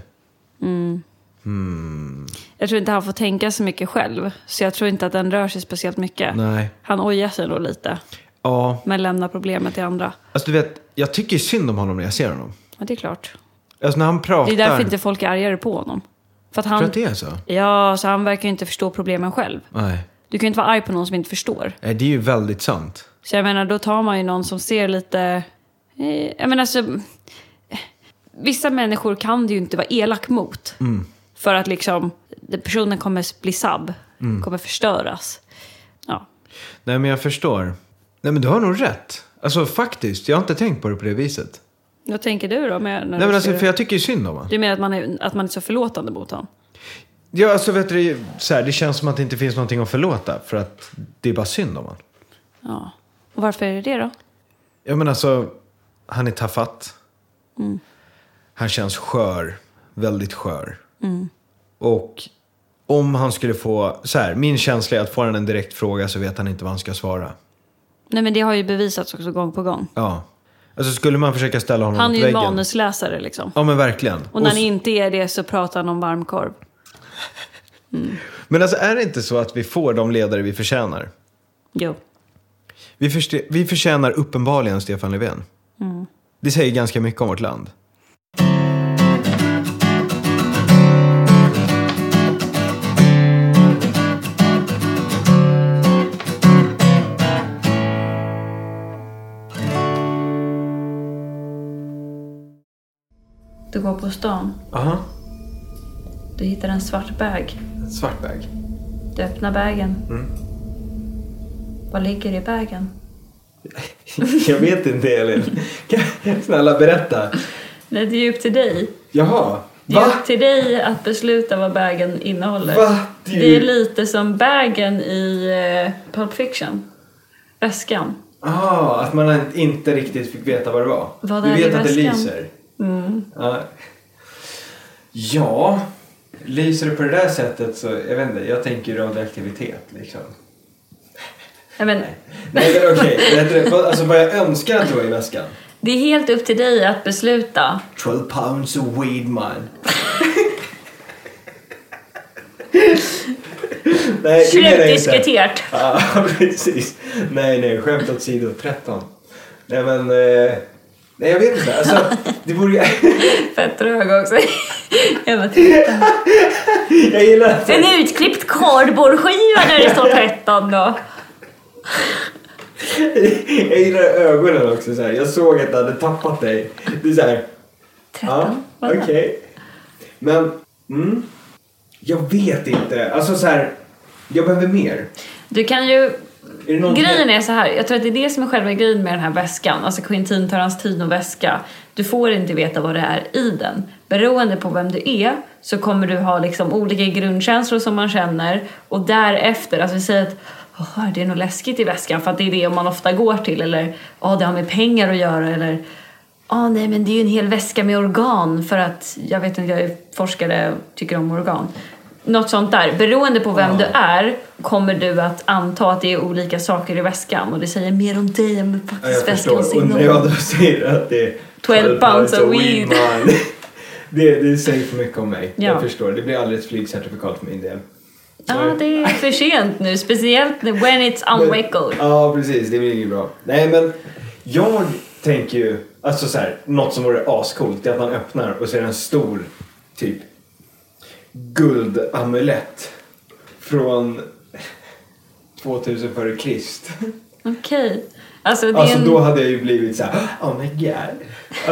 Speaker 1: Mm.
Speaker 2: Hmm.
Speaker 1: Jag tror inte han får tänka så mycket själv. Så jag tror inte att den rör sig speciellt mycket.
Speaker 2: Nej.
Speaker 1: Han ojar sig nog lite.
Speaker 2: Ja,
Speaker 1: men lämnar problemet till andra.
Speaker 2: alltså du vet, jag tycker synd om honom när jag ser honom.
Speaker 1: Ja, det är klart.
Speaker 2: Alltså när han pratar.
Speaker 1: Det är därför inte folk är argare på honom. För att
Speaker 2: Tror du
Speaker 1: han,
Speaker 2: att det är så?
Speaker 1: ja, så han verkar ju inte förstå problemen själv.
Speaker 2: Nej.
Speaker 1: Du kan ju inte vara arg på någon som inte förstår.
Speaker 2: Nej, det är ju väldigt sant.
Speaker 1: Så jag menar, då tar man ju någon som ser lite... eh, Jag menar, så, vissa människor kan du ju inte vara elak mot.
Speaker 2: Mm.
Speaker 1: För att liksom, personen kommer bli sabb,
Speaker 2: Mm.
Speaker 1: kommer förstöras. Ja.
Speaker 2: Nej, men jag förstår. Nej, men du har nog rätt. Alltså faktiskt, jag har inte tänkt på det på det viset.
Speaker 1: Vad tänker du då? Med, när
Speaker 2: Nej, men
Speaker 1: du,
Speaker 2: alltså,
Speaker 1: ser-
Speaker 2: för jag tycker ju synd om honom.
Speaker 1: du menar att man, är, att man är så förlåtande mot honom?
Speaker 2: Ja, alltså vet du, det är ju så här, det känns som att det inte finns någonting att förlåta. För att det är bara synd om honom.
Speaker 1: Ja. Och varför är det det då?
Speaker 2: Ja, men alltså, han är tafatt. Han känns skör. Väldigt skör. Och om han skulle få, så här, min känsla är att får han en direkt fråga så vet han inte vad han ska svara.
Speaker 1: Nej, men det har ju bevisats också gång på gång.
Speaker 2: Ja. Alltså skulle man försöka ställa honom
Speaker 1: Han är
Speaker 2: mot
Speaker 1: ju en
Speaker 2: Mm, väggen.
Speaker 1: manusläsare liksom.
Speaker 2: Ja men verkligen.
Speaker 1: Och när
Speaker 2: Och
Speaker 1: han
Speaker 2: s-
Speaker 1: inte är det så pratar han om varmkorv.
Speaker 2: Men alltså är det inte så att vi får de ledare vi förtjänar?
Speaker 1: Jo.
Speaker 2: Vi, förste- vi förtjänar uppenbarligen Stefan Löfven. Det säger ganska mycket om vårt land.
Speaker 1: Du går på stan.
Speaker 2: Aha,
Speaker 1: Du hittar en svart bag.
Speaker 2: ett svart bag.
Speaker 1: Du öppnar bagen.
Speaker 2: Mm.
Speaker 1: Vad ligger i bagen?
Speaker 2: Jag vet inte Elin. Kan- Snälla berätta.
Speaker 1: Nej, det är ju upp till dig.
Speaker 2: Jaha.
Speaker 1: Det är upp till dig att besluta vad bagen innehåller.
Speaker 2: Va? Det är ju-
Speaker 1: Det är lite som bagen i eh, Pulp Fiction. Väskan.
Speaker 2: Ah, att man inte riktigt fick veta vad det var.
Speaker 1: Vad är det i väskan? Mm.
Speaker 2: Ja. ja, lyser det på det där sättet så, jag vet inte, jag tänker radioaktivitet liksom.
Speaker 1: Nej, men,
Speaker 2: Nej men okej, okay. alltså vad jag önskar att det var i väskan.
Speaker 1: det är helt upp till dig att besluta.
Speaker 2: 12 pounds of weed man. nej, det menar jag inte.
Speaker 1: Slutdiskuterat.
Speaker 2: Ja, precis. Nej, nej, skämt åsido, 13. Nej men, eh, nej jag vet inte. Alltså, det vore ju...
Speaker 1: Fett trög också. Jag bara,
Speaker 2: jag gillar att
Speaker 1: en utklippt kardborrskiva när det står 13 då.
Speaker 2: Jag gillar ögonen också. Så här. Jag såg att du hade tappat dig. Det är så här. Ja, okej. Men, mm, jag vet inte. Alltså så här, jag behöver mer.
Speaker 1: Du kan ju
Speaker 2: Är det någon
Speaker 1: Grejen är så här, jag tror att det är det som är själva grejen med den här väskan. Alltså Quintin tar hans tid och väska. Du får inte veta vad det är i den. Beroende på vem du är så kommer du ha liksom olika grundkänslor som man känner och därefter, alltså vi säger att "Åh, det är nog läskigt i väskan för att det är det man ofta går till eller ja det har med pengar att göra eller ja nej men det är ju en hel väska med organ för att jag vet inte, jag är forskare och tycker om organ. Något sånt där. Beroende på vem du är kommer du att anta att det är olika saker i väskan och det säger mer om dig än
Speaker 2: Ja, jag
Speaker 1: faktiskt väskans
Speaker 2: förstår. Och när jag då säger att det är
Speaker 1: 12 pounds of weed.
Speaker 2: man. Det, det säger för mycket om mig.
Speaker 1: Ja.
Speaker 2: Jag förstår. Det blir aldrig ett flygcertifikat för min del.
Speaker 1: Ja, det är för sent nu. Speciellt nu, when it's on record.
Speaker 2: Ja, precis. Det blir inget bra. Nej, men jag tänker ju... Alltså så här, något som vore ascoolt det är att man öppnar och ser en stor typ guldamulett från 2000 före Krist.
Speaker 1: Okej. Alltså, det är
Speaker 2: Alltså
Speaker 1: en...
Speaker 2: då hade jag ju blivit så här, oh my god,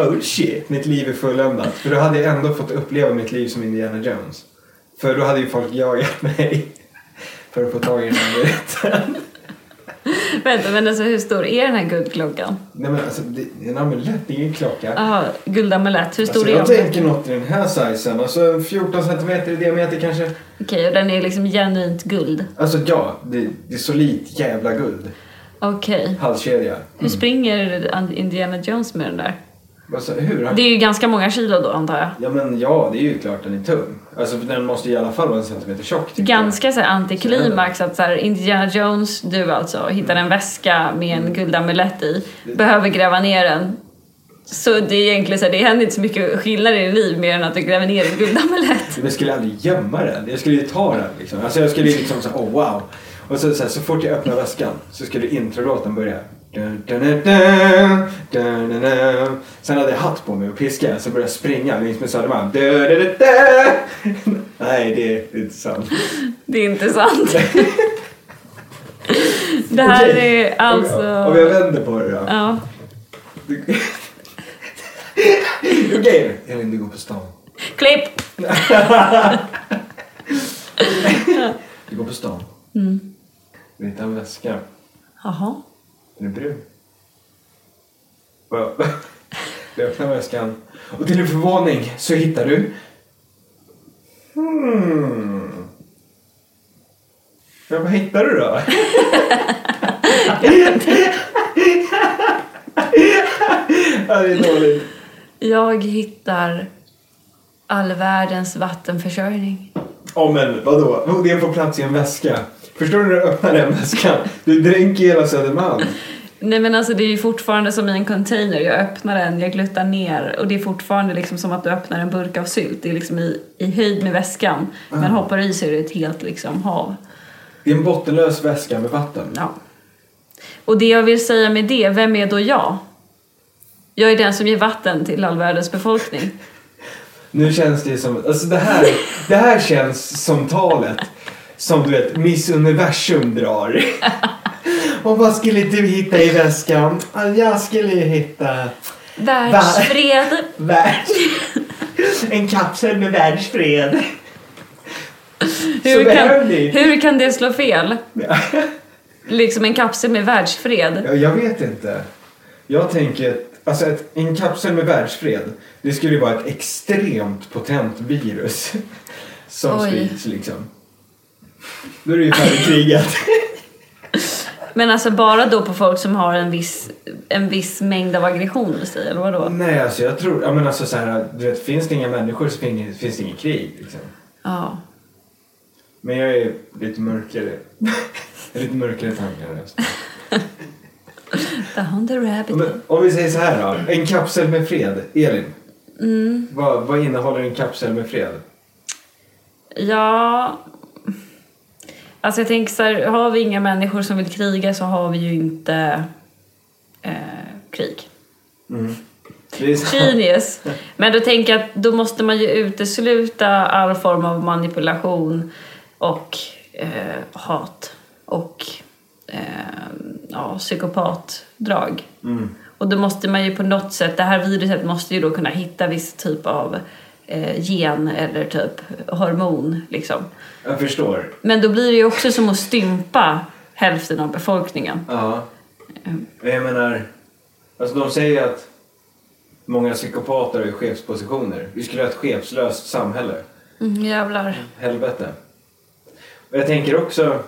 Speaker 2: oh shit, mitt liv är fulländat. För då hade jag ändå fått uppleva mitt liv som Indiana Jones. För då hade ju folk jagat mig för att få tag i den här amuletten.
Speaker 1: Vänta, men alltså hur stor är den här guldklockan?
Speaker 2: Nej men alltså, det det är en amulett, det är ingen klocka.
Speaker 1: Jaha, guldamulett. Hur stor
Speaker 2: Alltså, jag
Speaker 1: är den?
Speaker 2: tänker något i den här sizen, alltså en 14 centimeter i diameter kanske.
Speaker 1: Okej, och den är liksom genuint guld.
Speaker 2: Alltså ja, det, det är solitt jävla guld.
Speaker 1: Okej.
Speaker 2: Halskedja.
Speaker 1: Hur springer An- Indiana Jones med den där?
Speaker 2: Alltså, hur?
Speaker 1: Det är ju ganska många kilo då antar jag.
Speaker 2: Ja men ja, det är ju klart den är tung. Alltså för den måste i alla fall vara en centimeter tjock. tycker jag.
Speaker 1: Ganska så här antiklimax att så här, Indiana Jones, du alltså, hittar en väska med
Speaker 2: Mm.
Speaker 1: en guldamulett i, behöver gräva ner den. Så det är egentligen så här, det händer inte så mycket skillnad i ditt liv mer än att du gräver ner en guldamulett.
Speaker 2: Men jag skulle aldrig gömma den. Jag skulle ju ta den liksom. Alltså jag skulle ju liksom såhär, oh wow. Och så, så, här, så fort jag öppnar väskan så skulle introlåten börja. Du-du-du-du, du-du-du. Sen hade jag hatt på mig och piska så började jag springa längs med Södermalm. Du-du-du-du. Nej, det är inte sant.
Speaker 1: Det är inte sant. det här
Speaker 2: Okej.
Speaker 1: är alltså...
Speaker 2: Om jag vänder på det då.
Speaker 1: Ja.
Speaker 2: Okej, Elin du går på stan.
Speaker 1: Klipp!
Speaker 2: Du går på stan.
Speaker 1: Mm.
Speaker 2: Du hittar en väska.
Speaker 1: Jaha.
Speaker 2: Den är brun. Va? Du öppnar väskan och till din förvåning så hittar du... Hmm. Ja, vad hittar du då? ja, det är dåligt.
Speaker 1: Jag hittar all världens vattenförsörjning.
Speaker 2: Ja, men vadå? Jo, Det är på plats i en väska. Förstår du när du öppnar den väskan? Du dränker hela Södermalm.
Speaker 1: Nej men alltså det är ju fortfarande som i en container. Jag öppnar den, jag gluttar ner och det är fortfarande liksom som att du öppnar en burk av sylt. Det är liksom i, i höjd med väskan. Men hoppar i så är det ett helt liksom hav.
Speaker 2: Det är en bottenlös väska med vatten.
Speaker 1: Ja. Och det jag vill säga med det, vem är då jag? Jag är den som ger vatten till all världens befolkning.
Speaker 2: Nu känns det som, alltså det här, det här känns som talet som du vet Miss Universum drar. Och vad skulle du hitta i väskan? Ja, Jag skulle hitta
Speaker 1: Världsfred!
Speaker 2: världs... En kapsel med världsfred. Så
Speaker 1: Hur kan,
Speaker 2: behövlig.
Speaker 1: hur kan det slå fel? Liksom en kapsel med världsfred.
Speaker 2: Ja, Jag vet inte. Jag tänker, att- alltså ett, en kapsel med världsfred, det skulle ju vara ett extremt potent virus. Som
Speaker 1: Oj.
Speaker 2: sprids liksom. Då är det ju färdigkrigat.
Speaker 1: Men alltså bara då på folk som har en viss, en viss mängd av aggression i sig, eller vadå?
Speaker 2: Nej, alltså jag tror... Ja, men alltså så här, du vet, finns det inga människor så finns finns det inget krig. Liksom.
Speaker 1: Ja.
Speaker 2: Men jag är lite mörkare. jag är lite mörkare tankar. alltså.
Speaker 1: Down the rabbit.
Speaker 2: Men, om vi säger så här då. En kapsel med fred. Elin,
Speaker 1: Mm.
Speaker 2: vad, vad innehåller en kapsel med fred?
Speaker 1: Ja... Alltså jag tänker så här, har vi inga människor som vill kriga så har vi ju inte eh, krig.
Speaker 2: Det är så-
Speaker 1: Genius! Men då tänker jag att då måste man ju utesluta all form av manipulation och eh, hat och eh, ja, psykopatdrag.
Speaker 2: Mm.
Speaker 1: Och då måste man ju på något sätt, det här viruset måste ju då kunna hitta viss typ av eh, gen eller typ hormon liksom.
Speaker 2: Jag förstår.
Speaker 1: Men då blir det ju också som att stympa hälften av befolkningen.
Speaker 2: Ja. Men Jag menar... Alltså de säger ju att många psykopater har chefspositioner. Vi skulle ha ett chefslöst samhälle.
Speaker 1: Mm, jävlar.
Speaker 2: Helvete. Och jag tänker också...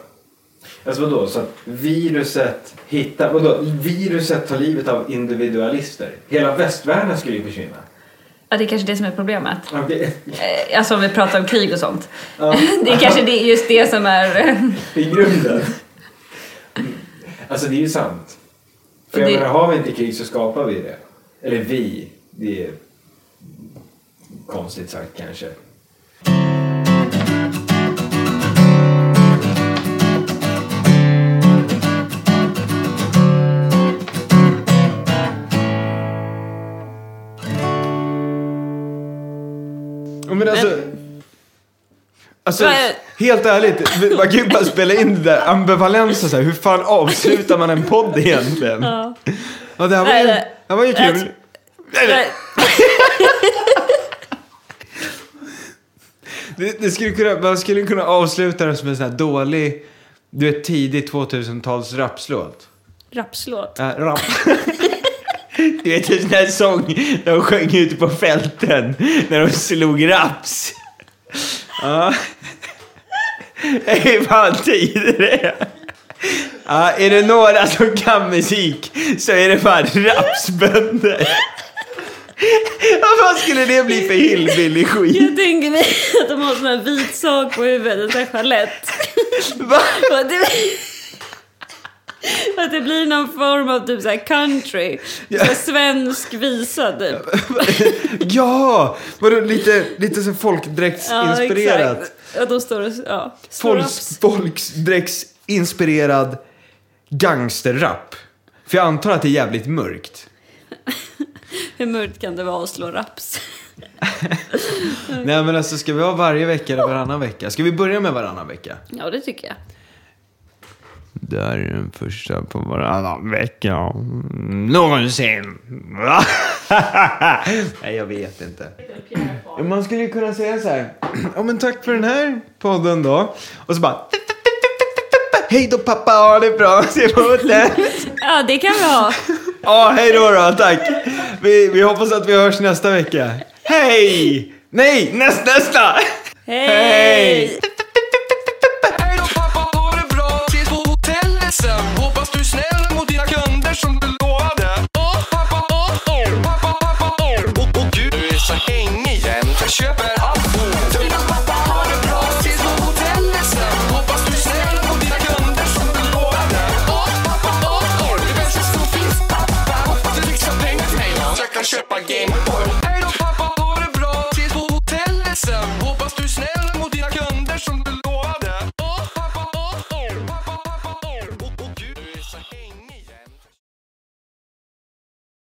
Speaker 2: Alltså vadå, så att viruset hittar... Vadå, viruset tar livet av individualister. Hela västvärlden skulle ju försvinna.
Speaker 1: Ja, det är kanske det som är problemet.
Speaker 2: Ja, Det,
Speaker 1: Eh, Alltså om vi pratar om krig och sånt.
Speaker 2: ja,
Speaker 1: Det är kanske det, just det som är... eh,
Speaker 2: I grunden. Alltså det är ju sant. För jag
Speaker 1: Det-
Speaker 2: menar, har vi inte krig så skapar vi det. Eller vi. Det är konstigt sagt kanske.
Speaker 3: Ja, Men alltså, alltså
Speaker 1: Nej.
Speaker 3: helt ärligt, vi- man kan ju bara spela in det där ambivalensen så här. Hur fan avslutar man en podd egentligen?
Speaker 1: Ja.
Speaker 3: Ja, det här var
Speaker 1: Nej,
Speaker 3: ju, det
Speaker 1: nej.
Speaker 3: här var ju kul.
Speaker 1: Jag tr- Nej,
Speaker 3: Det, det skulle kunna, man skulle kunna avsluta den som en sån här dålig, du vet tidig 2000-tals rapslåt.
Speaker 1: Rapslåt.
Speaker 3: Äh, rap. du vet en sån här sång de sjöng ute på fälten när de slog raps. Ja. Hej fan tid det är. Ja, är det några som kan musik så är det fan rapsbönder. Vad fan skulle det bli för hillbilly skit?
Speaker 1: Jag tänker mig att de har sån här vit sak på huvudet, en sån här chalett.
Speaker 3: Va?
Speaker 1: Och att det, att det blir någon form av typ så här country. Så här svensk visa typ.
Speaker 3: Ja! Vadå lite, lite så folkdräktsinspirerat?
Speaker 1: exakt. Ja, de står och... Ja. Står
Speaker 3: Folks, folksdräktsinspirerad gangsterrap.
Speaker 2: För jag antar att det är jävligt mörkt.
Speaker 1: Hur mörkt kan det vara att slå raps?
Speaker 2: Nej men alltså ska vi ha varje vecka eller varannan vecka? Ska vi börja med varannan vecka?
Speaker 1: Ja, det tycker jag.
Speaker 2: Där är den första på varannan vecka Mm, någonsin. Nej, jag vet inte. Man skulle ju kunna säga så här. Ja, men tack för den här podden då. Och så bara. Hej då pappa, ha det bra. Se emot det.
Speaker 1: Ja, det kan vi ha.
Speaker 2: Ja, hej då då, tack. Vi, vi hoppas att vi hörs nästa vecka. Hej! Nej, näst nästa!
Speaker 1: Hej!